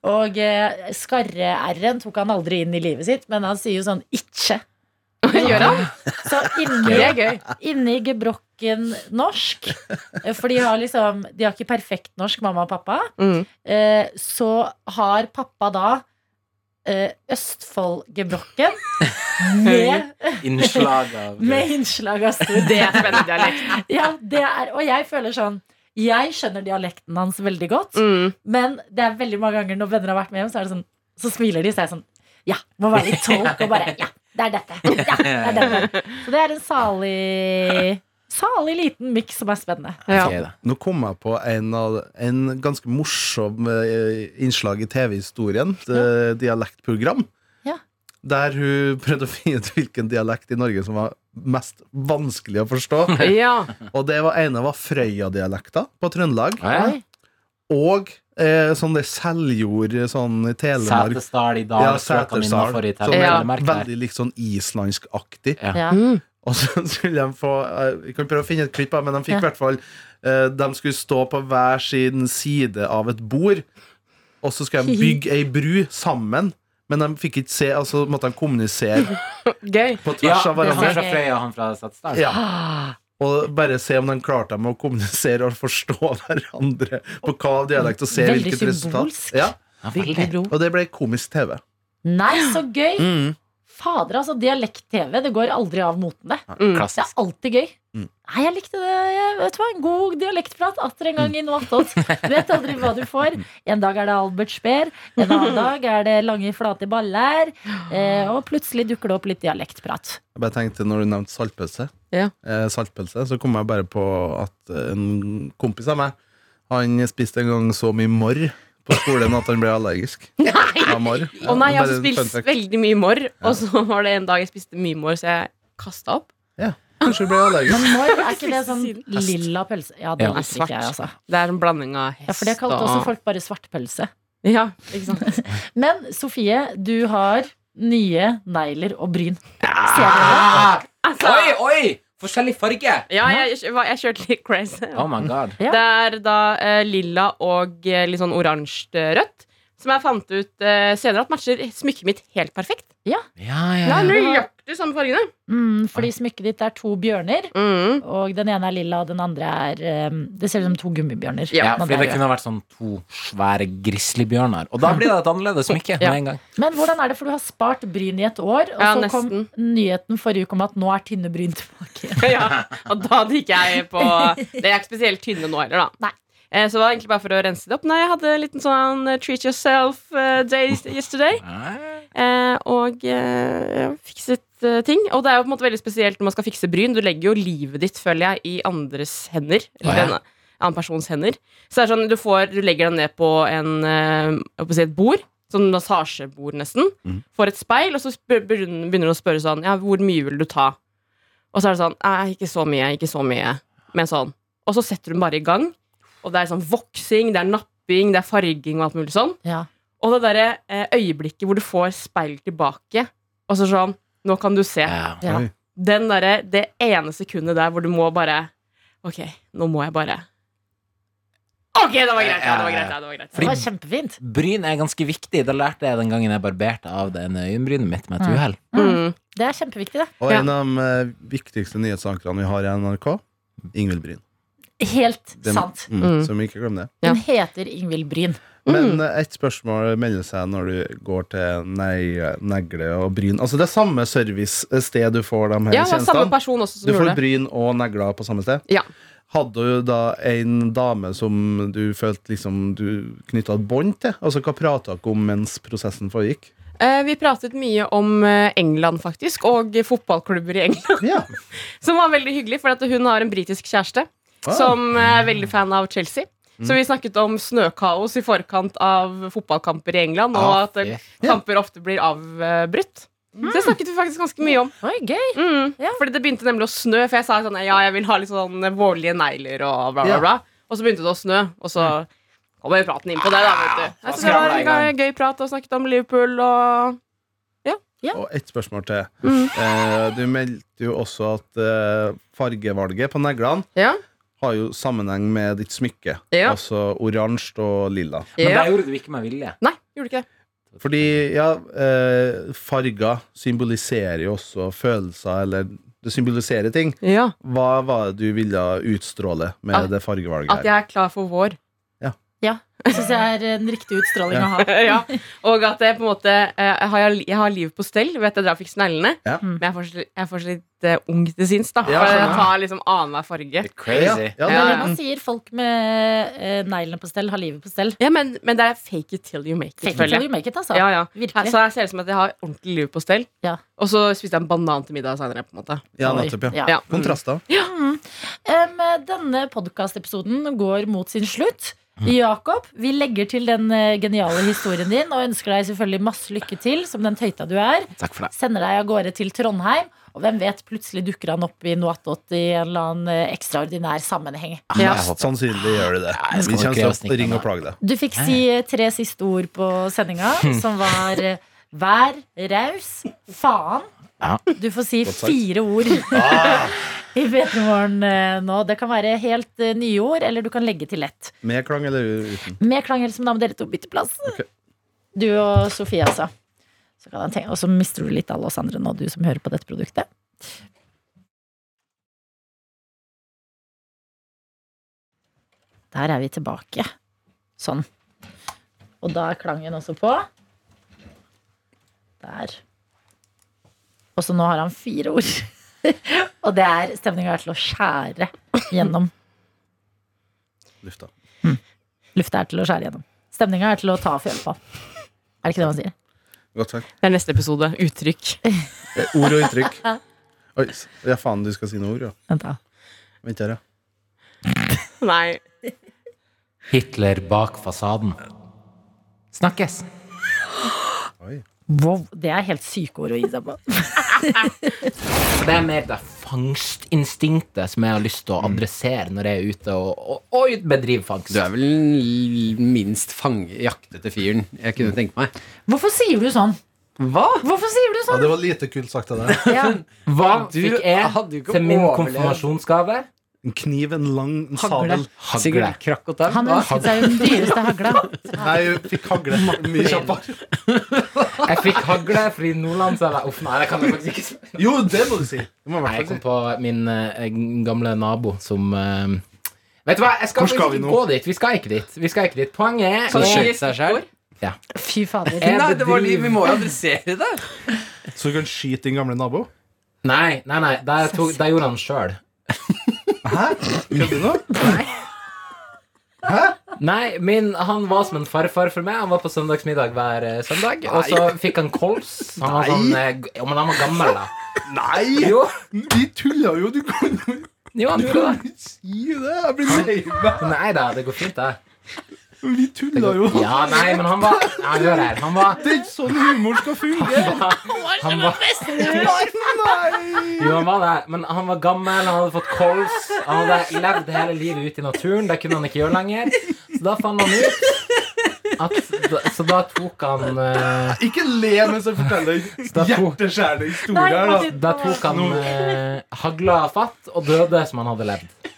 S2: Og eh, skarre-r-en tok han aldri inn i livet sitt, men han sier jo sånn itche.
S3: Gjør han?
S2: Så inni,
S3: Det er gøy.
S2: inni gebrokken norsk, eh, for de har liksom De har ikke perfekt norsk, mamma og pappa,
S3: Mm.
S2: eh, så har pappa da eh, Østfold-gebrokken med,
S5: Innslag av
S2: med innslag av Stord.
S3: Det er spennende dialekt.
S2: Ja, det er, og jeg føler sånn Jeg skjønner dialekten hans veldig godt,
S3: Mm.
S2: men det er veldig mange ganger når venner har vært med hjem, så, er det sånn, så smiler de, så er jeg sånn Ja, må være litt tolk og bare Ja, det er dette. Ja, det er dette. Så det er en salig Salig liten miks som er spennende.
S3: Ja.
S5: Det er det.
S4: Nå kom jeg på en, av, en ganske morsom eh, innslag i TV-historien. et, eh, Dialektprogram.
S2: Ja.
S4: Der hun prøvde å finne ut hvilken dialekt i Norge som var mest vanskelig å forstå.
S3: ja.
S4: Og det var ene var Frøya-dialekta på Trøndelag.
S5: Ja.
S4: Og eh, sånn det Seljord, sånn i Telemark.
S5: Setesdal i
S4: Ja,
S5: dag.
S4: Setesdal.
S5: strøkene innenfor i
S4: Sånn,
S5: Telemark.
S3: Ja.
S5: Telemark der.
S4: Veldig litt sånn islandskaktig.
S2: Ja.
S3: Mm.
S4: Og så skulle de få eh, Vi kan prøve å finne et klipp, her, men de fikk i
S2: Ja.
S4: hvert fall eh, De skulle stå på hver sin side av et bord, og så skulle de bygge ei bru sammen. Men de fikk ikke se, altså måtte de kommunisere
S3: Gøy.
S4: på tvers av
S2: det
S4: hverandre.
S5: Han fra Frøya og han fra Satsdal.
S4: Ja.
S2: Ah,
S4: Og bare se om de klarte dem å kommunisere og forstå hverandre på hva av dialekt og se
S2: Veldig
S4: hvilket resultat.
S2: symbolsk.
S4: Ja,
S5: Ja,
S3: Veldig bro.
S4: og det ble komisk TV.
S2: Nei, så gøy!
S4: Mm.
S2: Fader, altså. Dialekt-TV, det går aldri av moten, det. Det
S5: Klassisk.
S2: er alltid gøy.
S4: Mm.
S2: Nei, jeg likte det. Jeg, vet du hva, En god dialektprat atter en gang i noe attåt. Vet aldri hva du får. En dag er det Albert Speer, en annen dag er det lange, flate baller. Eh, og plutselig dukker det opp litt dialektprat.
S4: Jeg bare tenkte når du nevnte saltpølse,
S3: Ja.
S4: eh, saltpølse så kom jeg bare på at eh, en kompis av meg Han spiste en gang så mye marr på skolen at han ble allergisk. Av marr.
S3: Å nei, jeg
S4: Bare en
S3: har
S4: fun
S3: spist
S4: fact.
S3: veldig mye morr, og så var det en dag jeg spiste mye morr, så jeg kasta opp.
S4: Kanskje du ble allergisk.
S2: Men når er ikke det sånn
S4: Hest.
S2: lilla pølse? Ja, det
S5: Ja,
S2: liker
S3: svart.
S2: ikke jeg, altså.
S3: Det er en blanding av hest
S2: Ja, For det kalte
S3: og-
S2: også folk bare svartpølse.
S3: Ja, ikke sant?
S2: Men Sofie, du har nye negler og bryn. Ser
S5: Ah.
S2: dere det?
S3: Altså,
S5: Oi, oi! Forskjellig farge!
S3: ja, jeg, jeg, jeg kjørte litt crazy.
S5: Oh my god.
S2: Ja.
S3: Det er da eh, lilla og eh, litt sånn oransje-rødt. Som jeg fant ut eh, senere at matcher smykket mitt helt perfekt.
S5: Ja,
S3: Det
S5: ja,
S3: er
S5: ja.
S3: nøyaktig samme fargene.
S2: Mm, fordi smykket ditt er to bjørner.
S3: Mm.
S2: Og den ene er lilla, og den andre er eh, Det ser ut som to gummibjørner.
S5: Ja,
S2: Man
S5: fordi det
S2: bærer det.
S5: kunne vært sånn to svære grizzlybjørner. Og da blir det et annerledes smykke
S3: Ja.
S5: med en gang.
S2: Men hvordan er det, for du har spart bryn i et år, og
S3: Ja,
S2: så
S3: nesten.
S2: kom nyheten forrige uke om at nå er tynne bryn tilbake.
S3: ja, og da gikk jeg på Det er ikke spesielt tynne nå heller, da.
S2: Nei.
S3: Eh, så det var egentlig bare for å rense det opp. Nei, jeg hadde en liten sånn eh, treat yourself eh, day yesterday. Eh, og eh, fikset eh, ting. Og det er jo på en måte veldig spesielt når man skal fikse bryn. Du legger jo livet ditt, føler jeg, i andres hender. Eller
S5: Ja.
S3: en annen persons hender. Så det er sånn, du, får, du legger den ned på en, eh, jeg holdt på å si et bord. Sånn massasjebord, nesten. Får et speil, og så spør, begynner begynner du å spørre sånn Ja, hvor mye vil du ta? Og så er det sånn Nei, ikke så mye, ikke så mye. Men sånn. Og så setter du den bare i gang. Og det er sånn voksing, det er napping, det er farging og alt mulig sånn.
S2: Ja.
S3: Og det derre eh, øyeblikket hvor du får speil tilbake, og så sånn Nå kan du se.
S5: Ja.
S2: Ja.
S4: Oi.
S3: Den derre Det ene sekundet der hvor du må bare Ok, nå må jeg bare Ok, det var greit. Ja, det var greit. Ja, det var greit.
S2: Det var kjempefint.
S5: Bryn er ganske viktig. Det lærte jeg den gangen jeg barberte av det ene øyenbrynet mitt med et
S2: Mm.
S5: uhell.
S3: Mm.
S2: Det er kjempeviktig, det.
S4: Og
S3: Ja.
S4: en av de eh, viktigste nyhetsankerne vi har i NRK, Ingvild Bryn.
S2: Helt
S4: Det-
S2: sant.
S4: Mm,
S3: Mm.
S4: Så vi ikke glem det.
S3: Ja.
S2: Hun heter Ingvild Bryn.
S4: Men eh, et spørsmål melder seg når du går til nei, negle og bryn. Altså det er samme servicested du får de her
S3: Ja, det var samme
S4: tjenestene.
S3: person også
S4: Du
S3: som
S4: får
S3: gjorde det.
S4: bryn og negler på samme sted.
S3: Ja.
S4: Hadde du da en dame som du følte liksom du knytta et bånd til? Altså Hva prata dere om mens prosessen foregikk?
S3: Eh, vi pratet mye om eh, England, faktisk, og fotballklubber i England.
S4: Ja.
S3: Som var veldig hyggelig, for at hun har en britisk kjæreste
S4: Ah. Mm.
S3: som eh, er veldig fan av Chelsea. Så vi snakket om snøkaos i forkant av fotballkamper i England, og
S5: Ah,
S3: at eh,
S4: Ja.
S3: kamper ofte blir avbrutt. Så det snakket vi faktisk ganske mye om.
S2: Oi, gøy.
S3: Mm.
S2: Ja.
S3: Fordi det begynte nemlig å snø, for jeg sa sånn Ja, jeg vil ha litt sånn vårlige negler og bla, bla,
S4: Ja.
S3: bla. Og så begynte det å snø, og så kommer praten inn på det, da, vet du. Jeg synes Mm. det var
S5: skravla i gang.
S3: en gøy prat, og snakket om Liverpool og
S4: Og ett spørsmål til.
S3: Mm.
S4: Eh, du meldte jo også at eh, fargevalget på neglene
S3: Ja.
S4: har jo sammenheng med ditt smykke.
S3: Ja.
S4: Altså oransje og lilla.
S5: Men
S3: ja.
S5: det gjorde du ikke med vilje.
S3: Nei, gjorde ikke det.
S4: Fordi ja, eh, farger symboliserer jo også følelser, eller det symboliserer ting.
S3: Ja.
S4: Hva var det du ville utstråle med
S3: At-
S4: det fargevalget
S3: Ah. At
S4: her?
S3: jeg er klar for vår.
S2: Jeg syns jeg er en riktig utstråling å ha.
S3: ja. Og at jeg på en måte eh, jeg har, jeg har livet på stell. Vet jeg drar og fikser neglene.
S4: Ja.
S3: Men jeg er fortsatt, jeg er fortsatt litt eh, ung til sinns. da
S4: Ja,
S3: For jeg
S4: skjønner.
S3: tar liksom annenhver farge.
S4: Ja,
S5: Crazy.
S4: ja, det
S3: Ja,
S4: er
S3: ja.
S2: Hva sier folk med eh, neglene på stell, har livet på stell?
S3: Ja, men, men det er fake it till you make it.
S2: Fake it
S3: føler
S2: till
S3: jeg.
S2: you make it, altså.
S3: Ja, ja. Her-
S2: Virkelig.
S3: Så jeg ser ut som at jeg har ordentlig liv på stell.
S2: Ja.
S3: Og så spiste jeg en banan til middag senere. på en måte
S4: ja, nettopp, ja. Mm.
S2: Ja.
S3: ja.
S4: Kontraster.
S2: Em, denne podkastepisoden går mot sin slutt. Jakob, vi legger til den eh, geniale historien din og ønsker deg selvfølgelig masse lykke til som den tøyta du er.
S5: Takk for det.
S2: Sender deg av gårde til Trondheim, og hvem vet, plutselig dukker han opp i noe attåt i en eller annen eh, ekstraordinær sammenheng.
S3: Ja.
S5: Jeg håper-
S4: Sannsynlig gjør du det. Vi
S5: jeg skal nok
S4: kommer
S5: kreve
S4: til å
S5: snikken,
S4: ringe
S5: da.
S4: og plage deg.
S2: Du fikk si eh, tre siste ord på sendinga, som var eh, vær raus, faen.
S5: Ja.
S2: Du får si
S4: Godt sagt. Ah.
S2: fire ord i P3 Morgen eh, nå. Det kan være helt eh, nye ord, eller du kan legge til ett.
S4: Med klang eller uten?
S2: Med Klang Helse, men da må dere to bytte plass. Du og Sofie, altså. Så kan jeg tenke, og så mister du litt alle oss andre nå, du som hører på dette produktet. Der er vi tilbake. Sånn. Og da er klangen også på. Der. Og så nå har han fire ord. og det er stemninga er til å skjære gjennom.
S4: Lufta.
S2: Lufta er til å skjære gjennom. Stemninga er til å ta fjøl på. Er det ikke det man sier?
S4: Godt takk.
S3: Det er neste episode. Uttrykk.
S4: Eh, Ord og inntrykk. Oi, s- ja faen, du skal si noe ord, ja.
S2: Vent da.
S4: Vent her, ja.
S3: Nei.
S5: Hitler bak fasaden. Snakkes.
S4: Oi.
S2: Wow, det er helt syke ord å gi seg på.
S5: Det er mer det fangstinstinktet som jeg har lyst til å adressere når jeg er ute og, og, og bedriver fangst.
S7: Du er vel den l- minst fang- jaktete fyren jeg kunne tenke meg.
S2: Hvorfor sier du sånn?
S7: Hva?
S2: Hvorfor sier du
S4: Ja,
S2: sånn?
S4: det var lite kult sagt av deg.
S2: Ja.
S5: Hva
S7: Du
S5: fikk
S7: hadde
S5: jeg
S7: jo ikke
S5: til min
S7: overlevd.
S5: konfirmasjonsgave?
S4: En kniv, en lang en sabel.
S5: Hagle.
S7: Sigurd Krakk og Tau?
S2: Han
S7: hva?
S2: ønsket seg jo den dyreste hagla.
S4: Nei, jeg fikk hagle mye kjappere.
S5: Jeg fikk hagle fordi Nordland sa Uff, nei, det kan jeg faktisk ikke spørre.
S4: Jo, det må du si. Det må jeg i
S5: Nei,
S4: hvert fall
S5: jeg kom
S4: si.
S5: på min eh, gamle nabo som eh, Vet du hva,
S4: Hvor
S5: jeg skal,
S4: skal
S5: faktisk
S4: vi
S5: ikke
S4: nå?
S5: gå dit. Vi skal ikke dit. Vi skal ikke dit. Poenget
S7: Så
S5: er
S7: skjøt seg selv?
S2: Fy fader.
S5: Jeg
S7: Nei, det var
S5: bedriver-
S7: liv. Vi må jo adressere det.
S4: Så du kan skyte din gamle nabo?
S5: Nei, nei, nei, det, tok, det gjorde han sjøl.
S4: Hæ? Kødder du nå?
S5: Nei, min, han var som en farfar for meg. Han var på søndagsmiddag hver eh, søndag. Og så fikk han kols. Han var
S4: Nei.
S5: sånn, eh, g- ja, men han var gammel, da.
S4: Nei!
S5: Jo,
S4: Vi tulla jo! Du kan jo
S5: jo han
S4: du
S5: gjorde
S4: kan
S5: det.
S4: ikke si det! Jeg blir lei meg.
S5: Nei da, det går fint, det.
S4: Vi tulla jo.
S5: Ja, nei, men han var ja, Hør her. Han var
S4: Det er ikke sånn humor skal fungere.
S5: Han var,
S4: Nei!
S5: jo, han var det, men han var gammel, han hadde fått kols. Han hadde levd hele livet ute i naturen. Det kunne han ikke gjøre lenger. Så da fant han ut at, Så da tok han eh,
S4: Ikke le mens jeg forteller
S5: da tok-
S4: hjerteskjærende
S2: Nei,
S4: historie her, da.
S5: Da tok han eh, hagla fatt og døde som han hadde levd.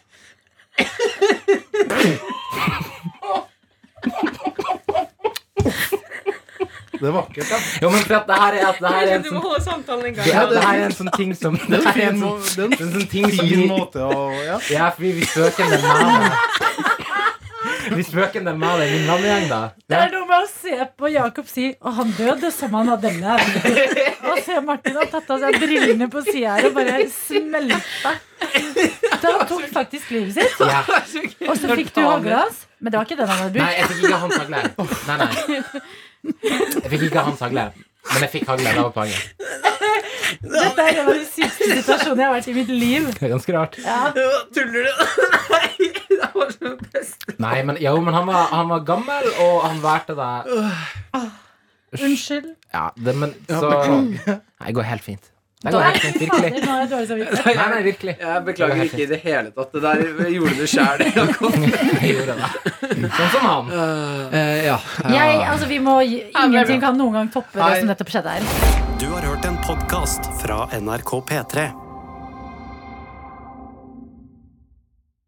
S4: Det er vakkert, da.
S5: Jo, men for at det her er, at det her er en
S3: Du må
S5: sånn
S3: holde samtalen i gang.
S5: det her, det her er en sånn ting som Det
S4: Det
S5: her
S4: er en
S5: er en
S4: fin,
S5: sånn
S4: det er
S5: det
S4: en
S5: er en sånn ting som
S4: fin
S5: vi,
S4: måte å ja.
S5: Ja, fordi vi spøker med meg Vi spøker med meg i min navnegjeng, da.
S2: Det er noe med å se på Jakob si Og han døde som han hadde levd. Og se Martin har tatt av seg brillene på sida her og bare smelta. Så han tok faktisk livet sitt,
S5: Ja.
S2: og så fikk du hagla hans. Men det var ikke den han hadde
S5: Nei,
S2: brukt.
S5: jeg fikk ikke hans hagle. Nei, nei. Jeg fikk ikke hans hagle, men jeg fikk hagle. Det var poenget.
S2: Dette er en av de sykeste situasjonene jeg har vært i mitt liv.
S5: Det er ganske rart.
S7: Tuller du? Nei, det var så best.
S5: Nei, men, jo, men han, var, han var gammel, og han valgte det
S2: Unnskyld.
S5: Ja, det, men så Nei, det går helt fint. Det går helt fint,
S2: Fader,
S5: virkelig.
S2: nå har jeg dårlig samvittighet.
S5: Nei, nei, virkelig.
S7: Jeg beklager ikke i det hele tatt. Det der gjorde du sjæl, Jakob.
S5: Jeg gjorde det. Sånn som han.
S7: Eh, ja.
S2: Jeg, altså, vi må, ingenting kan noen gang toppe det
S4: Nei.
S2: som nettopp skjedde her.
S1: Du har hørt en podkast fra NRK P3.